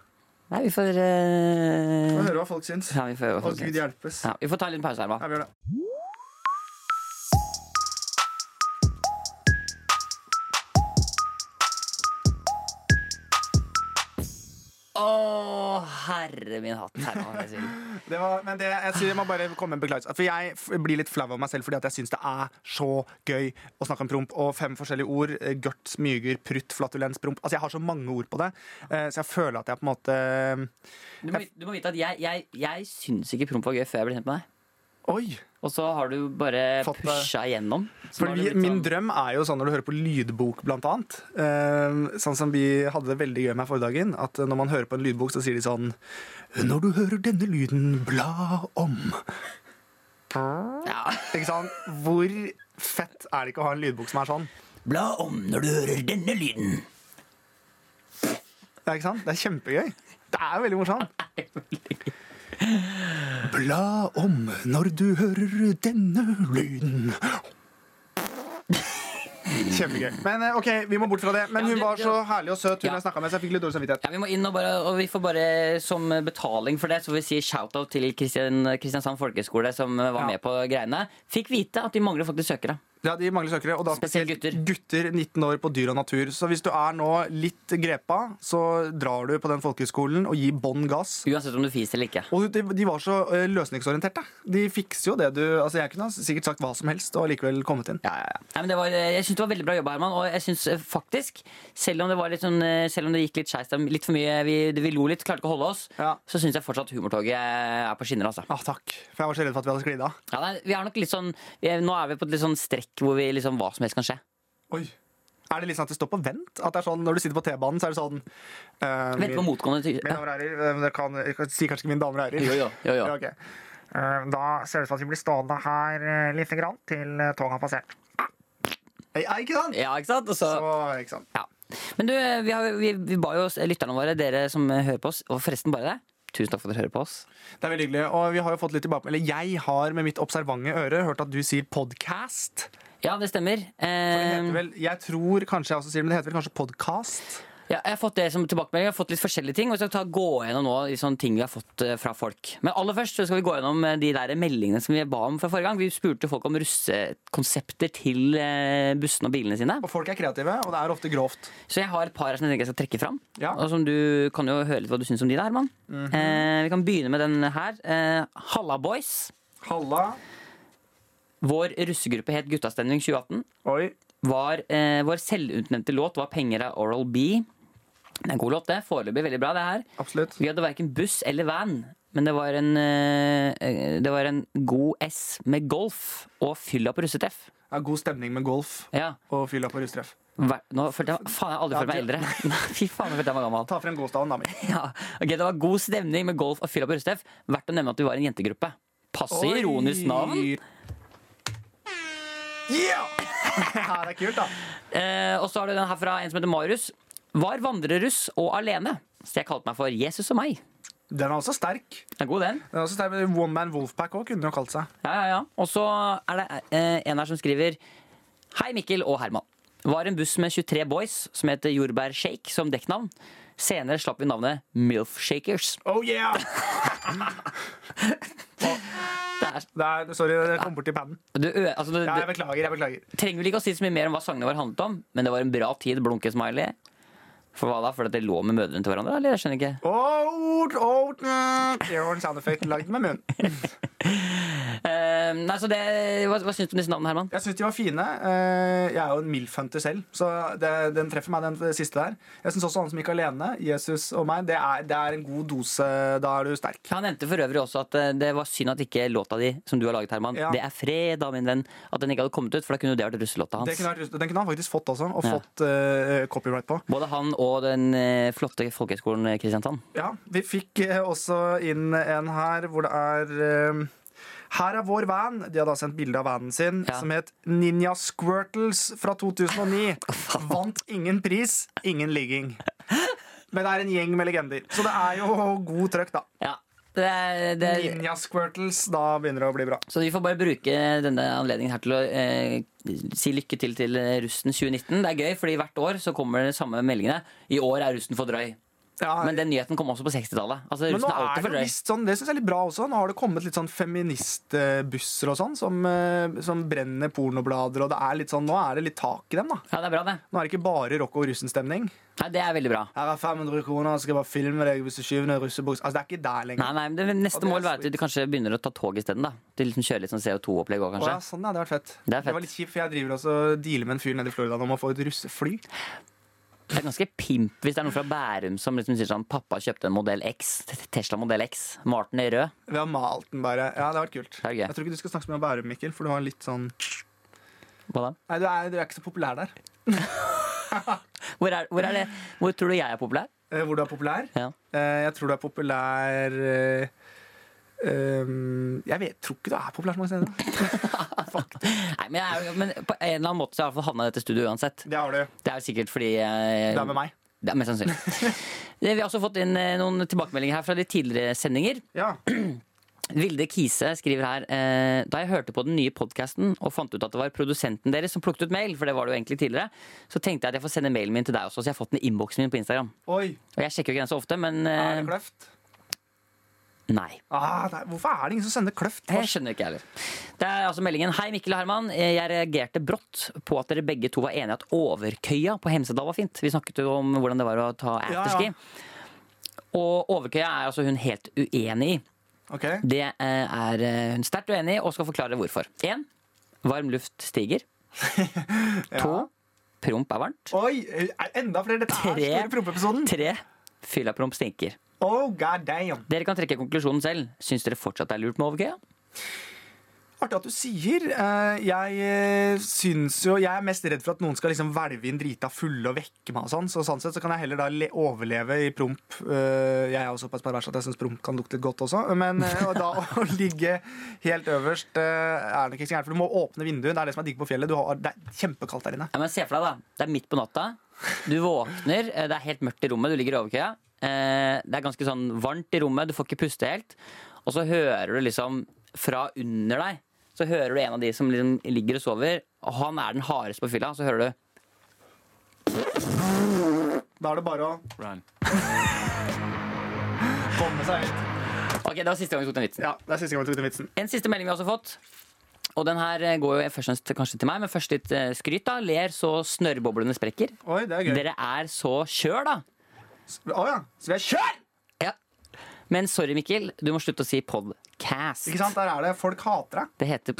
B: Nei, vi får eh,
A: Høre hva folk syns.
B: ja, vi, får,
A: Å, gud hjelpes.
B: ja, vi får ta en liten pause,
A: Ja, vi
B: Herman.
A: gjør det.
B: Å, herre min hatt. Herman, jeg sier.
A: Det var, men det, jeg, synes jeg må bare komme med en beklagelse. For jeg f- blir litt flau av meg selv fordi at jeg syns det er så gøy å snakke om promp og fem forskjellige ord. eh, Gørt, smyger, prutt, flatulens, promp. Altså, jeg har så mange ord på det, eh, så jeg føler at jeg på en måte eh,
B: Du, må, du må vite at jeg, jeg, jeg syns ikke promp var gøy før jeg ble kjent med deg.
A: Oi!
B: Og så har du bare
A: Fått det.
B: pusha igjennom. Så nå har
A: Fordi
B: du
A: vi,
B: blitt
A: min
B: sånn-
A: drøm er jo sånn når du hører på lydbok, blant annet. Eh, sånn som vi hadde det veldig gøy med forrige dagen. At når man hører på en lydbok, så sier de sånn Når du hører denne lyden, bla om.
B: Ja.
A: Ikke sant? Hvor fett er det ikke å ha en lydbok som er sånn?
B: Bla om når du hører denne lyden.
A: Ja, ikke sant? Det er kjempegøy. Det er jo veldig morsomt. Bla om når du hører denne lyden. Kjempegøy. Men eh, ok, vi må bort fra det. Men
B: Ja,
A: hun
B: du-
A: var så
B: ja.
A: herlig og søt, hun
B: Ja.
A: jeg snakka med, så jeg fikk litt dårlig samvittighet.
B: Ja, Vi må inn og bare, og vi får bare som betaling for det, så får vi si shout-out til Kristian, Kristiansand folkehøgskole, som var
A: Ja.
B: med på greiene. Fikk vite at de mangler faktisk søkere.
A: Ja, De mangler søkere, og da
B: Spesielt
A: spesielt gutter. 19 år på dyr og natur. Så hvis du er nå litt grepa, så drar du på den folkehøyskolen og gir bånn gass.
B: Uansett om du fiser eller ikke.
A: Og de, de var så eh, løsningsorienterte. De fikser jo det du Altså, jeg kunne ha sikkert sagt hva som helst og likevel kommet inn.
B: Nei, men det var, jeg syns det var veldig bra jobba, Herman. Og jeg synes eh, faktisk, selv om det, var litt sånn, eh, selv om det gikk litt skeis, det er litt for mye, vi, vi lo litt, klarte ikke å holde oss,
A: Ja.
B: så syns jeg fortsatt humortoget er på skinner. altså.
A: Ah, takk. For jeg var så redd for at vi hadde sklidd av.
B: Ja, nei, vi er nok litt sånn, vi er, Nå er vi på et litt sånn strekk hvor vi liksom, hva som helst kan skje.
A: Oi. Er det litt sånn at det står på vent? At det er sånn, Når du sitter på T-banen, så er det sånn eh,
B: Vent på
A: min-
B: motgående ty-
A: Mine damer og herrer, eh, dere kan, jeg kan si kanskje ikke mine damer og herrer.
B: Jo, jo, jo, jo.
A: Ja, ok. Eh, Da ser det ut som at vi blir stående her eh, lite grann til eh, toget har passert. Hei, er ikke sant?
B: Ja, altså. ikke sant? Og så,
A: Så, ikke sant?
B: Ja. Men du, vi, har, vi, vi ba jo lytterne våre, dere som hører på oss, og forresten bare deg, tusen takk for at dere hører på oss.
A: Det er veldig hyggelig, og vi har jo fått litt tilbake, eller Jeg har med mitt observante øre hørt at du sier podcast.
B: Ja, det stemmer.
A: Det heter
B: Eh,
A: vel, jeg tror kanskje jeg også sier det, men det heter vel kanskje podcast?
B: ja, jeg har fått det som tilbakemelding, jeg har fått litt forskjellige ting, og så skal vi ta, gå gjennom nå i sånne ting vi har fått eh, fra folk. Men aller først så skal vi gå gjennom eh, de der meldingene som vi ba om fra forrige gang. Vi spurte folk om russekonsepter til eh, bussene og bilene sine.
A: Og folk er kreative, og det er ofte grovt.
B: Så jeg har et par her som jeg tenker jeg skal trekke fram.
A: Ja.
B: Og som du kan jo høre litt hva du syns om de, da, Herman. eh, vi kan begynne med den her. Eh, Halla Boys.
A: Halla.
B: Vår russegruppe het Guttastemning 2018.
A: Oi.
B: var eh, Vår selvutnevnte låt var 'Penger av Oral B'. Det er en god låt, det. Foreløpig veldig bra, det her.
A: Absolutt.
B: Vi hadde verken buss eller van, men det var en, eh, eh, det var en god S med golf og fylla på russetreff.
A: Ja, god stemning med golf
B: Ja.
A: og fylla på russtreff.
B: Hver, nå følte jeg Faen, jeg har aldri
A: Ja,
B: følt meg
A: det-
B: eldre. Nei, Fy faen, jeg følte jeg var gammel.
A: Ta frem gåstaven, da, mi.
B: Ja. ok, det var god stemning med golf og fylla på russetreff. Verdt å nevne at vi var en jentegruppe. Passe
A: Oi.
B: ironisk navn.
A: Yeah! ja, det er kult, da.
B: Eh, og så har du den her fra en som heter Marius. Var vandreruss og alene. Så jeg kalte meg for Jesus og meg.
A: Den er også sterk.
B: Det er god, den.
A: Den er også sterk. men One Man Wolfpack òg kunne den jo kalt seg.
B: Ja, ja, ja. Og så er det eh, en her som skriver Hei Mikkel og Herman. Var en buss med 23 boys som heter Jordbær Shake som dekknavn. Senere slapp Oh, vi navnet Milf Shakers.
A: Oh yeah!
B: Det er,
A: Det er, sorry, jeg kom borti paden.
B: du, ø- altså, du,
A: Ja, jeg
B: du
A: beklager. jeg beklager
B: trenger vel ikke å si så mye mer om hva sangene våre handlet om, men det var en bra tid, blunke-smiley. For hva da? Fordi at det lå med mødrene til hverandre? Eller? Jeg skjønner ikke.
A: Oat, oat, mm. Det var en sound effect lagd med munn.
B: Eh, nei, så det, hva, hva syns du om disse navnene, Herman?
A: Jeg syns de var fine. Eh, Jeg er jo en MILF-hunter selv, så det, den treffer meg, den siste der. Jeg syns også han som gikk alene, Jesus og meg, det er, det er en god dose. Da er du sterk.
B: Han nevnte for øvrig også at eh, det var synd at ikke låta di, som du har laget, Herman,
A: Ja.
B: Det er fredag, min venn, at den ikke hadde kommet ut, for da kunne jo det vært russelåta
A: Det
B: hans.
A: kunne vært, rust- den kunne han faktisk fått også, og
B: Ja.
A: fått eh, copyright på.
B: Både han og den eh, flotte folkehøgskolen eh, Kristiansand.
A: Ja, Vi fikk eh, også inn en her hvor det er eh, her er vår van. De har da sendt bilde av vanen sin,
B: Ja.
A: som het Ninja Squirtles fra 2009. Vant ingen pris, ingen ligging. Men det er en gjeng med legender, så det er jo god trøkk, da.
B: Ja, det er, det er,
A: Ninja Squirtles, da begynner det å bli bra.
B: så vi får bare bruke denne anledningen her til å eh, si lykke til til eh, russen 2019. Det er gøy, fordi hvert år så kommer de samme meldingene. I år er russen for drøy.
A: Ja,
B: Men den nyheten kom også på 60-tallet. Altså,
A: Men
B: russen
A: nå
B: er
A: er
B: alltid
A: det
B: for
A: jo
B: drøy.
A: visst sånn, det synes jeg er litt bra også. Nå har det kommet litt sånn feministbusser og sånn, som, eh, som brenner pornoblader, og det er litt sånn, nå er det litt tak i dem, da.
B: Ja, det er bra, det.
A: Nå er det ikke bare rock og russenstemning.
B: Nei, det er veldig bra.
A: Her er 500 kroner, skal jeg bare filme deg hvis du skyver ned russebuks. Altså, det er ikke der lenger.
B: Nei, nei, men det
A: Ja,
B: Neste
A: det er
B: mål være at
A: sweet.
B: du kanskje begynner å ta tog isteden. da. Du liksom kjører litt sånn CO2-opplegg
A: Å,
B: òg,
A: ja,
B: kanskje.
A: sånn, ja, det hadde vært fett.
B: Det er fett.
A: var litt kjipt, for jeg driver også og dealer med en fyr nede i Florida nå om å få et russefly.
B: Det er ganske pimp hvis det er noen fra Bærum som liksom sier sånn Pappa kjøpte en modell X. Tesla modell X. Marten i rød.
A: Vi har malt den bare. Ja, det har vært kult.
B: er gøy.
A: Jeg tror ikke du skal snakke så mye om Bærum, Mikkel, for du har litt sånn
B: Hva da?
A: Nei, du er, du er ikke så populær der.
B: Hvor, er, hvor, er det, hvor tror du jeg er populær?
A: Eh, Hvor du er populær?
B: Ja.
A: Eh, Jeg tror du er populær eh, ehm, Jeg vet, tror ikke du er populær så mange steder.
B: Nei, men, jeg er, jo- men på en eller annen måte så har jeg i hvert fall havna i dette studioet uansett.
A: Det har du.
B: Det er jo sikkert fordi jeg,
A: Det er med meg.
B: Det er mest sannsynlig. Det- Vi har også fått inn eh, noen tilbakemeldinger her fra de tidligere sendinger.
A: Ja.
B: Vilde Kise skriver her eh, Da jeg hørte på den nye podkasten og fant ut at det var produsenten deres som plukket ut mail, for det var det jo egentlig tidligere, så tenkte jeg at jeg får sende mailen min til deg også, så jeg har fått den i innboksen min på Instagram.
A: Oi,
B: Og jeg sjekker jo ikke den så ofte, men
A: er det
B: eh,
A: kløft?
B: nei.
A: Ah, nei, hvorfor er det ingen som sender kløft?
B: Jeg skjønner ikke, jeg heller. Det er altså meldingen Hei, Mikkel og Herman. Eh, Jeg reagerte brått på at dere begge to var enige at overkøya på Hemsedal var fint. Vi snakket jo om hvordan det var å ta
A: Ja, ja.
B: afterski. Og overkøya er altså hun helt uenig i.
A: Ok,
B: Det eh, er eh, hun sterkt uenig i og skal forklare hvorfor. Én, varm luft stiger. To, promp er varmt.
A: Oi, er enda flere. Dette er
B: Tre.
A: store prompeepisoden.
B: Tre, fylla promp stinker.
A: Oh, god damn.
B: Dere kan trekke konklusjonen selv. Syns dere fortsatt det er lurt med overkøya?
A: Artig at du sier. Eh, Jeg eh, syns jo Jeg er mest redd for at noen skal liksom hvelve inn drita fulle og vekke meg og sånn. Så sånn sett så kan jeg heller da le overleve i promp. Eh, Jeg er jo såpass pervers at jeg syns promp kan lukte godt også. Men eh, og da å ligge helt øverst eh, er nok ikke så gærent. For du må åpne vinduet. Det er det som er digg på fjellet. Du har, det er kjempekaldt der inne.
B: Ja, men se for deg da, det er midt på natta Du våkner, eh, det er helt mørkt i rommet Du ligger i overkøya Eh, Det er ganske sånn varmt i rommet, du får ikke puste helt Og så hører du liksom Fra under deg Så hører du en av de som liksom ligger og sover Og han er den hardeste på fylla Så hører du
A: Da er det bare å komme seg ut.
B: Ok, det var siste gang vi tok den vitsen
A: Ja, det er siste gang jeg tok den vitsen.
B: En siste melding vi har også fått Og den her eh, går jo først og fremst kanskje til meg Men først litt eh, skryt da Ler så snørrboblene sprekker
A: Oi, det er gøy.
B: Dere er så kjør da
A: Å ja. Så vi er kjør!
B: Ja men sorry Mikkel, du må slutte å si podcast
A: Ikke sant? Der er det. Folk hater deg.
B: Det heter,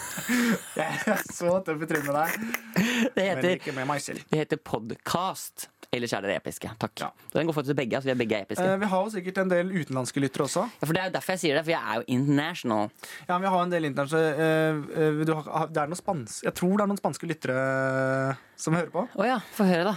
A: Jeg er så tøff i trynet der.
B: det
A: Men
B: heter,
A: ikke med meg selv.
B: det heter podcast. Ellers er dere episke. Takk.
A: Ja.
B: Den går faktisk til begge. Altså vi er begge episke.
A: Eh, Vi har jo sikkert en del utenlandske lyttere også.
B: ja, for Det er jo derfor jeg sier det, for jeg er jo international.
A: Ja, men vi har en del internasjonale eh, eh, du har- Det er noen spans... Jeg tror det er noen spanske lyttere eh, som hører på.
B: Å ja, få høre, da.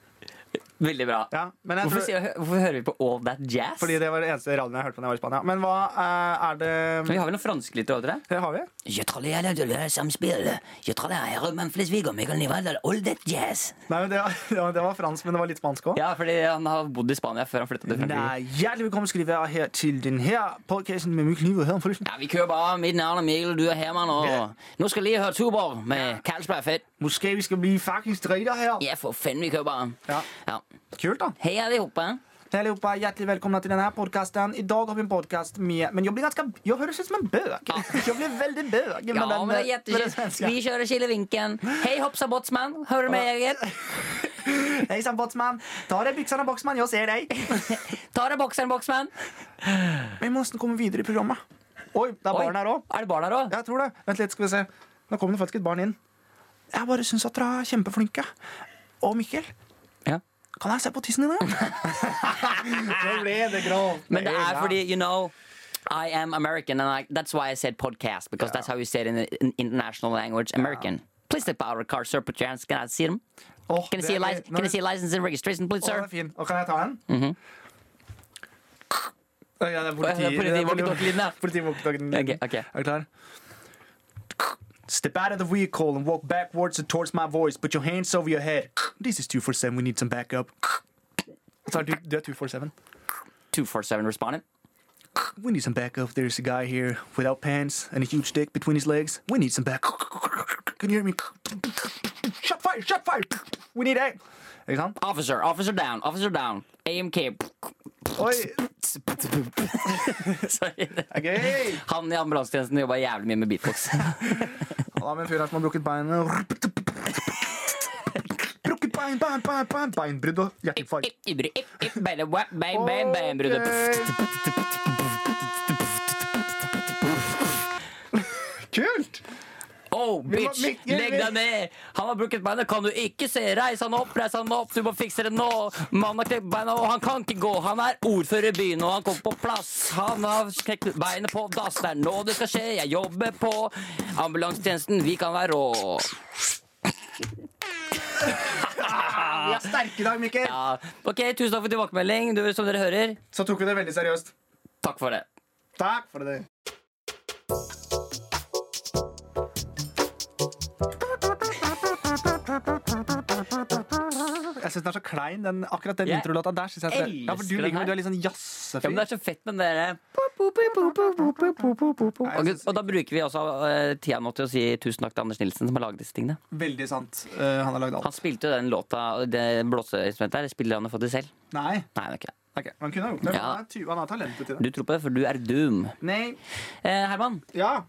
B: Veldig bra.
A: Ja, men jeg
B: Hvorfor,
A: tror-
B: sier, hvorfor hører vi på All That Jazz?
A: Fordi det var det eneste radioen jeg hørte på da jeg var i Spania. Men hva eh, er det
B: Men vi har vel noen fransklytter over det?
A: Det har vi.
B: Jeg tror det er det samspillet. Jeg tror det er Herman Flesvig og Mikael Nivaldal. All That Jazz.
A: Nei, men det, var- det var fransk, men det var litt spansk òg.
B: Ja, fordi han har bodd i Spania før han flytta til Frankrike.
A: Nei, hjertelig velkommen skal de være her til den her podcasten med Mykken Livet her om følelsen.
B: Ja, vi kører bare. Mitt navn er Mikkel, du er Herman, og nå skal jeg lige høre Tuborg med Carlsberg Fett.
A: Måske vi skal bli fuckings drita her.
B: Ja, for fanden, vi kører bare.
A: Ja.
B: Ja.
A: Kult, da.
B: Hei, alle sammen.
A: Hej allihopa, hjärtligt välkomna till den här podcasten. Idag har vi en podcast med, men jag blir ganska, jag høres ut som en bög. Jag blir väldigt bög med
B: Ja,
A: den,
B: men det er
A: med den
B: jättekul.
A: svenska.
B: Vi kjører Kilevinken. Hei, hoppsa botsmann. Hører du meg, Egil?
A: Hejsan botsman, ta av dig byxorna boxman, jag ser dig.
B: Ta deg bokseren, boksmann.
A: Vi måste komma vidare i programmet. Oj, det är
B: Oi,
A: barn här också.
B: Er det barn her òg?
A: Jeg tror det. Vent litt, skal vi se. Nå kom det faktisk et barn inn. Jeg bare syns at dere er kjempeflinke. Og Mikkel,
B: Ja.
A: kan jeg se på tissen din? Nå ble det grovt.
B: Men det er fordi, you know I am American, and I, that's why I said podcast, because that's how you say it in, in international language, American. Please step out of the car, sir. Put your hands. Can I see them?
A: Åh,
B: Can I
A: det
B: see a,
A: er-
B: license?
A: nå-
B: can I see a license and registration, please,
A: Åh, den
B: sir? Mhm.
A: er fin. Og kan jeg ta den? Åh, Ja, det er politi...
B: Åh, det er politi-
A: det er politi-
B: walkie-talkie-lyden, ja.
A: Politi-walkie-talkie-lyden.
B: Ok, ok.
A: Er du klar? Step out of the vehicle and walk backwards and towards my voice. Put your hands over your head. This is 247, we need some backup. Så er du, du er 247.
B: 247 respondent.
A: We need some backup. There's a guy here without pants and a huge dick between his legs. We need some backup. Can you hear me? Shut fire! Shut fire! We need a... Ikke sant?
B: Officer, officer down, officer down. AMK.
A: Oi!
B: Sorry.
A: Det er gøy!
B: Han i ambulansetjenesten jobba jævlig mye med beatbox.
A: Han har med en fyr her som har brukket beinet. Brukket bein, bein, bein, bein. Beinbrudd og hjertefeil.
B: Ip, ibru, ip, ip, beine, wap, bein, bein, bein, brudde.
A: Kult!
B: Oh,
A: må-
B: bitch,
A: Mikkel, vi-
B: legg deg ned! Han har brukket beinet, kan du ikke se? Reis han opp, reis han opp, du må fikse det nå! Mannen har knekt beina, og han kan ikke gå. Han er ordfører i byen, og han kom på plass. Han har knekt beinet på dass, det er nå det skal skje. Jeg jobber på ambulansetjenesten, vi kan være rå.
A: Vi er sterke i dag, Mikkel.
B: Ja. Ok, tusen takk for tilbakemelding. Du, som dere hører,
A: Så tok vi det veldig seriøst.
B: takk for det.
A: Takk for det. Jeg syns den er så klein, den, akkurat den
B: Jeg
A: introlåta der. Synes jeg at det, ja, for du,
B: elsker den
A: liker,
B: her.
A: du er litt sånn
B: Ja,
A: jazzefyr.
B: men det er så fett med dere.
A: Nei,
B: Og,
A: jeg synes-
B: og da bruker vi også eh, tida nå til å si tusen takk til Anders Nilsen, som har laget disse tingene.
A: Veldig sant. Eh, han har lagd
B: Han
A: alt.
B: spilte jo den låta, det blåseinstrumentet der, spiller han jo for det selv?
A: Nei,
B: Nei, han gjør ikke det.
A: ok, han kunne ha gjort det.
B: Ja.
A: Han, er ty- han har talentet til det.
B: Du tror på det, for du er dum.
A: Nei,
B: Eh, Herman,
A: ja.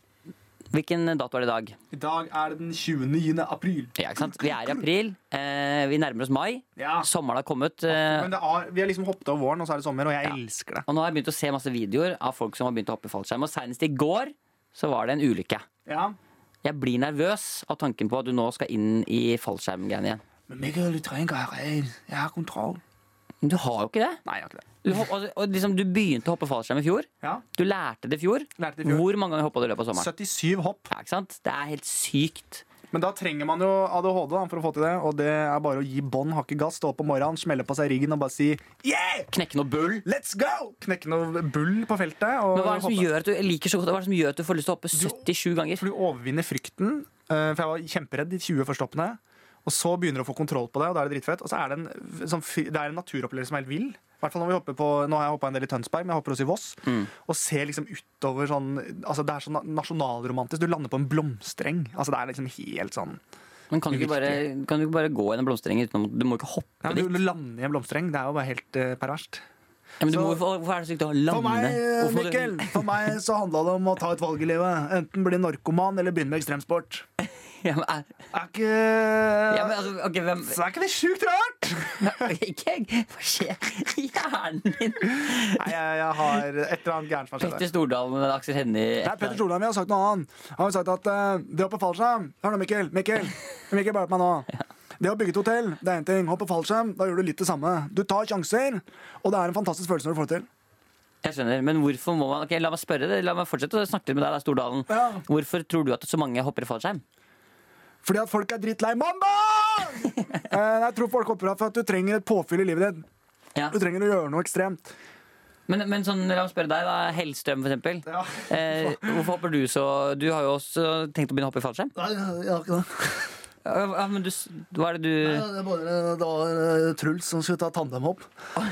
B: hvilken dato er det i dag?
A: I dag er det den 29. april.
B: Ja, ikke sant? Vi er i april. Eh, vi nærmer oss mai.
A: Ja.
B: Sommeren har kommet. Eh,
A: Men det er, vi har liksom hoppet over våren, og så er det sommer, og jeg elsker det.
B: og nå har jeg begynt å se masse videoer av folk som har begynt å hoppe i fallskjerm. Og senest i går så var det en ulykke.
A: Ja.
B: Jeg blir nervøs av tanken på at du nå skal inn i fallskjermgreiene igjen.
A: Men Mikkel, du trenger ikke ha regn. Jeg har kontroll.
B: Men du har jo ikke det.
A: Nei, jeg har ikke det.
B: Du, hopp, og, og liksom, du begynte å hoppe fallskjerm i fjor.
A: Ja.
B: Du lærte det i fjor.
A: Lærte det i fjor.
B: Hvor mange ganger hoppa du i løpet av sommeren?
A: 77 hopp.
B: Ja, ikke sant? Det er helt sykt.
A: Men da trenger man jo ADHD da, for å få til det, og det er bare å gi bånn, hakke gass, stå opp om morgenen, smelle på seg riggen og bare si yeah!
B: Knekke noe bull.
A: Let's go! Knekke noe bull på feltet. Og
B: Men hva er det som
A: hoppe.
B: gjør at du jeg liker så godt? Hva er det som gjør at du får lyst til å hoppe 77 ganger?
A: For du overvinner frykten, eh, for jeg var kjemperedd de 20 første hoppene. Og så begynner du å få kontroll på det, og da er det dritfett. Og så er det en, sånn, fy- det er en naturopplevelse som er helt vill. I hvert fall når vi hopper på, Nå har jeg hoppa en del i Tønsberg, men jeg hopper også i Voss.
B: Mm.
A: Og ser liksom utover sånn altså Det er sånn nasjonalromantisk. Du lander på en blomstereng. Altså, det er liksom helt sånn
B: Men kan du ikke bare, kan du ikke bare gå gjennom blomsterengen uten å Du må ikke hoppe
A: Ja, men
B: dit.
A: du lander i en blomstereng. Det er jo bare helt eh, perverst.
B: Ja, men du
A: så-
B: må, hvorfor, hvorfor er det så viktig å lande?
A: For meg, eh,
B: Hvorfor må du-
A: Mikkel, for meg så handla det om å ta et valg i livet. Enten bli narkoman eller begynne med ekstremsport.
B: Ja, men, er-
A: Er ikke
B: ja, men altså, ok, hvem
A: Så er ikke det sjukt rart?
B: Ikke jeg! Hva skjer i hjernen min?
A: Nei, jeg, jeg har et eller annet gærent som har skjedd
B: Petter
A: her.
B: Stordalen, Aksel Hennie
A: Nei, Petter Solheim jeg har sagt noe annet. Han har sagt at uh, det å hoppe fallskjerm Hør nå, Mikkel. Mikkel, Mikkel bare hjelp meg nå. Det å bygge et hotell det er én ting. Hoppe fallskjerm, da gjør du litt det samme. Du tar sjanser, og det er en fantastisk følelse når du får det til.
B: Jeg skjønner, men hvorfor må man Ok, La meg spørre det, la meg fortsette å snakke litt med deg, da, Stordalen.
A: Ja.
B: Hvorfor tror du at så mange hopper i fallskjerm?
A: Fordi at folk er drittlei mandag! Eh, Jeg tror folk hopper av for at du trenger et påfyll i livet ditt.
B: Ja.
A: Du trenger å gjøre noe ekstremt.
B: Men, men sånn, la meg spørre deg, da. Hellstrøm, for eksempel.
A: Ja.
B: Eh, hvorfor hopper du så Du har jo også tenkt å begynne å hoppe i fallskjerm.
E: Nei, jeg har ikke det.
B: Ja, ja, men du, s- hva er det du
E: Det var, det var eh, Truls som skulle ta tandemhopp.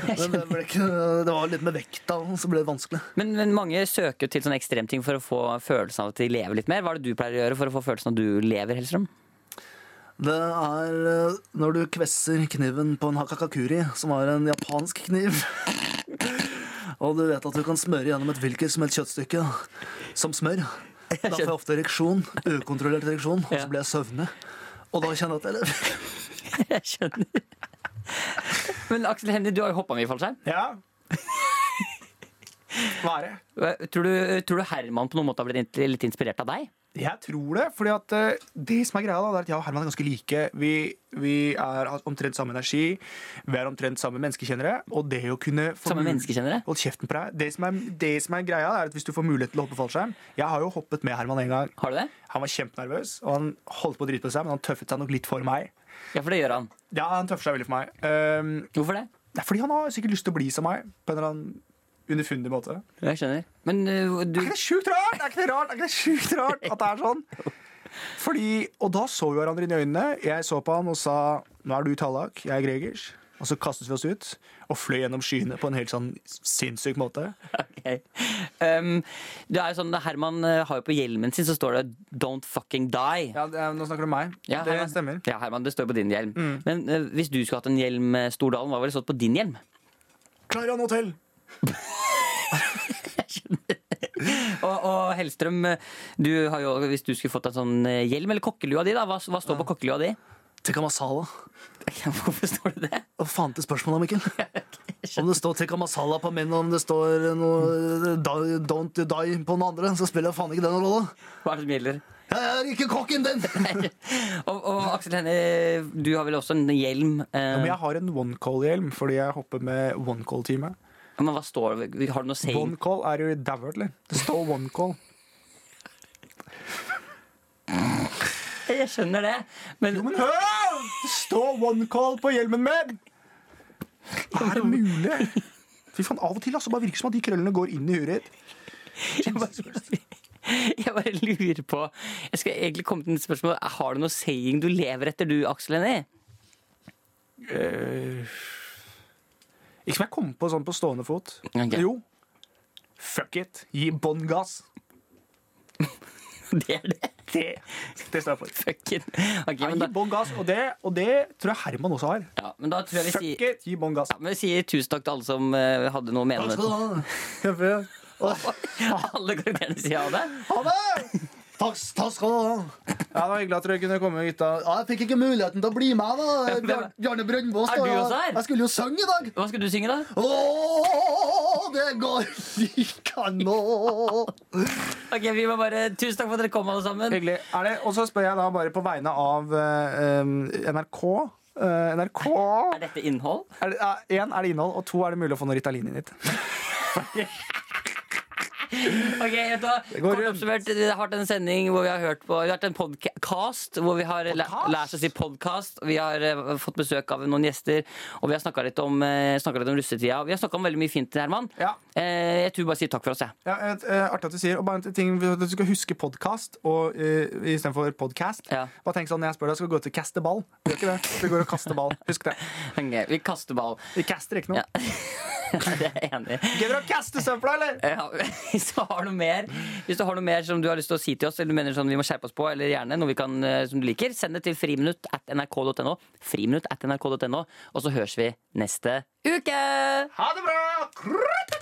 E: Men det, ble ikke, det var litt med vekta, så ble det vanskelig.
B: men, men mange søker til sånne ekstremting for å få følelsen av at de lever litt mer. Hva er det du pleier å gjøre for å få følelsen av at du lever, Hellstrøm?
E: Det er eh, når du kvesser kniven på en hakakakuri, som er en japansk kniv. Og du vet at du kan smøre gjennom et hvilket som helst kjøttstykke som smør. Da får jeg ofte ereksjon, ukontrollert ereksjon, og
B: Ja.
E: så blir jeg søvnig. Og da kjenner jeg at jeg lever.
B: Jeg skjønner. Men Aksel Hennie, du har jo hoppa mye i fallskjerm.
A: Ja. Hva er det?
B: Eh, Tror du, tror du Herman på noen måte har blitt int- litt inspirert av deg?
A: Jeg tror det, fordi at eh, det som er greia da, det er at jeg og Herman er ganske like. Vi, vi er har omtrent samme energi, vi er omtrent samme menneskekjennere, og det å kunne få
B: Samme
A: mul-
B: menneskekjennere?
A: Hold kjeften på deg. Det som, er, det som er greia, er at hvis du får mulighet til å hoppe fallskjerm Jeg har jo hoppet med Herman en gang.
B: Har du det?
A: Han var kjempenervøs, og han holdt på å drite på seg, men han tøffet seg nok litt for meg.
B: Ja, for det gjør han.
A: Ja, han tøffer seg veldig for meg. Um,
B: Hvorfor det?
A: det er fordi han har sikkert lyst til å bli som meg, på en eller annen underfundig måte.
B: Jeg skjønner. Men eh, du
A: Er ikke det sjukt rart? Er ikke det rart? Er ikke det sjukt rart at det er sånn? Fordi, Og da så vi hverandre inn i øynene. Jeg så på han og sa Nå er du Tallak, jeg er Gregers. Og så kastet vi oss ut og fløy gjennom skyene på en helt sånn sinnssyk måte.
B: Ok. Um, det er jo sånn, Herman eh, har jo på hjelmen sin så står det 'Don't fucking die'.
A: Ja, det er- Nå snakker du om meg.
B: Ja,
A: det
B: Herman.
A: stemmer.
B: Ja, Herman, det står jo på din hjelm. Men eh, hvis du skulle hatt en hjelm, eh, Stordalen, hva ville det stått på din hjelm?
A: Clarion Hotel.
B: Eh. Og, og Hellstrøm, eh, du har jo, hvis du skulle fått en sånn eh, hjelm, eller kokkelua di, da, hva, hva står på kokkelua di?
E: Tikka masala.
B: Hvorfor står det det?
E: Hva faen til spørsmålet, Mikkel? Om det står tikka masala på min, og om det står noe die, Don't you die på den andre, så spiller jeg faen ikke den rolle.
B: Hva er det som gjelder?
E: Jeg er ikke kokken din!
B: Og, og Aksel Hennie, eh, du har vel også en hjelm? eh,
A: Men jeg har en onecall-hjelm fordi jeg hopper med onecall-teamet.
B: men hva står det? Har du noe saying?
A: Onecall er jo dævlig. Det står onecall.
B: Jeg skjønner det, men
A: Men hør! da! Det står onecall på hjelmen min! Er det mulig? Fy faen, Av og til altså, bare virker det som at de krøllene går inn i huet ditt.
B: Jeg bare lurer på Jeg skal egentlig komme til et spørsmål Har du noe saying du lever etter du, Aksel Hennie?
A: Eh, Ikke som jeg kom på sånn på stående fot.
B: Ok.
A: Jo. Fuck it. Gi bånn gass.
B: Det er det
A: Det, det står jeg for.
B: Fucking Ok,
A: Ja, gi
B: men, da,
A: bånn gass, og det, og det tror jeg Herman også har.
B: ja, men da tror jeg vi
A: Fuck
B: sier
A: it, gi bånn gass.
B: ja, men vi sier tusen takk til alle som eh, hadde noe å mene med
E: Takk skal
B: det.
E: du ha.
B: Alle karakterene sier ha det.
E: Ha det! Takk, takk skal du ha.
A: Ja, det var Hyggelig at dere kunne komme, gutta.
E: Ja, jeg fikk ikke muligheten til å bli med, da. Bjar- Bjarne Brøndbo.
B: Er du også her?
E: Jeg skulle jo synge i dag.
B: Hva skal du synge, da?
E: Åh, det går ikke nå.
B: Ok, vi må bare Tusen takk for at dere kom, alle sammen.
A: Hyggelig. Er det, og så spør jeg da bare på vegne av eh, eh, NRK. Eh, NRK
B: Er dette innhold?
A: er det, eh, En, er det innhold, og to, er det mulig å få noe Ritalin inn hit?
B: Ok, vet du hva?
A: går
B: Kort
A: rundt.
B: oppsummert, Vi har hatt en sending hvor vi har hørt på Vi har hatt en podcast hvor vi har læ-
A: Podcast?
B: lært oss i podcast. Vi har eh, fått besøk av noen gjester, og vi har snakka litt, om, eh, snakket litt om russetida. Og vi har snakka om veldig mye fint, Herman.
A: Ja.
B: Eh, jeg tror bare jeg sier takk for oss, jeg.
A: Ja, et, eh, artig at du sier Og bare en ting for at Du skal huske podkast uh, istedenfor podcast.
B: Ja.
A: Bare tenk sånn når jeg spør deg, skal du gå til kaste ball? Du gjør ikke det. Du går og kaster ball. Husk det.
B: Ok, vi kaster ball.
A: Vi caster ikke noe.
B: Ja. det er jeg enig i.
A: Gidder du å kaste søpla, eller?
B: Eh, Ja, hvis, du har noe mer, hvis du har noe mer som du har lyst til å si til oss, eller du mener sånn vi må skjerpe oss på, eller gjerne noe vi kan, eh, som du liker, send det til friminutt at nrk.no. Friminutt at nrk.no, og så høres vi neste uke!
A: Ha det bra! Krøtt!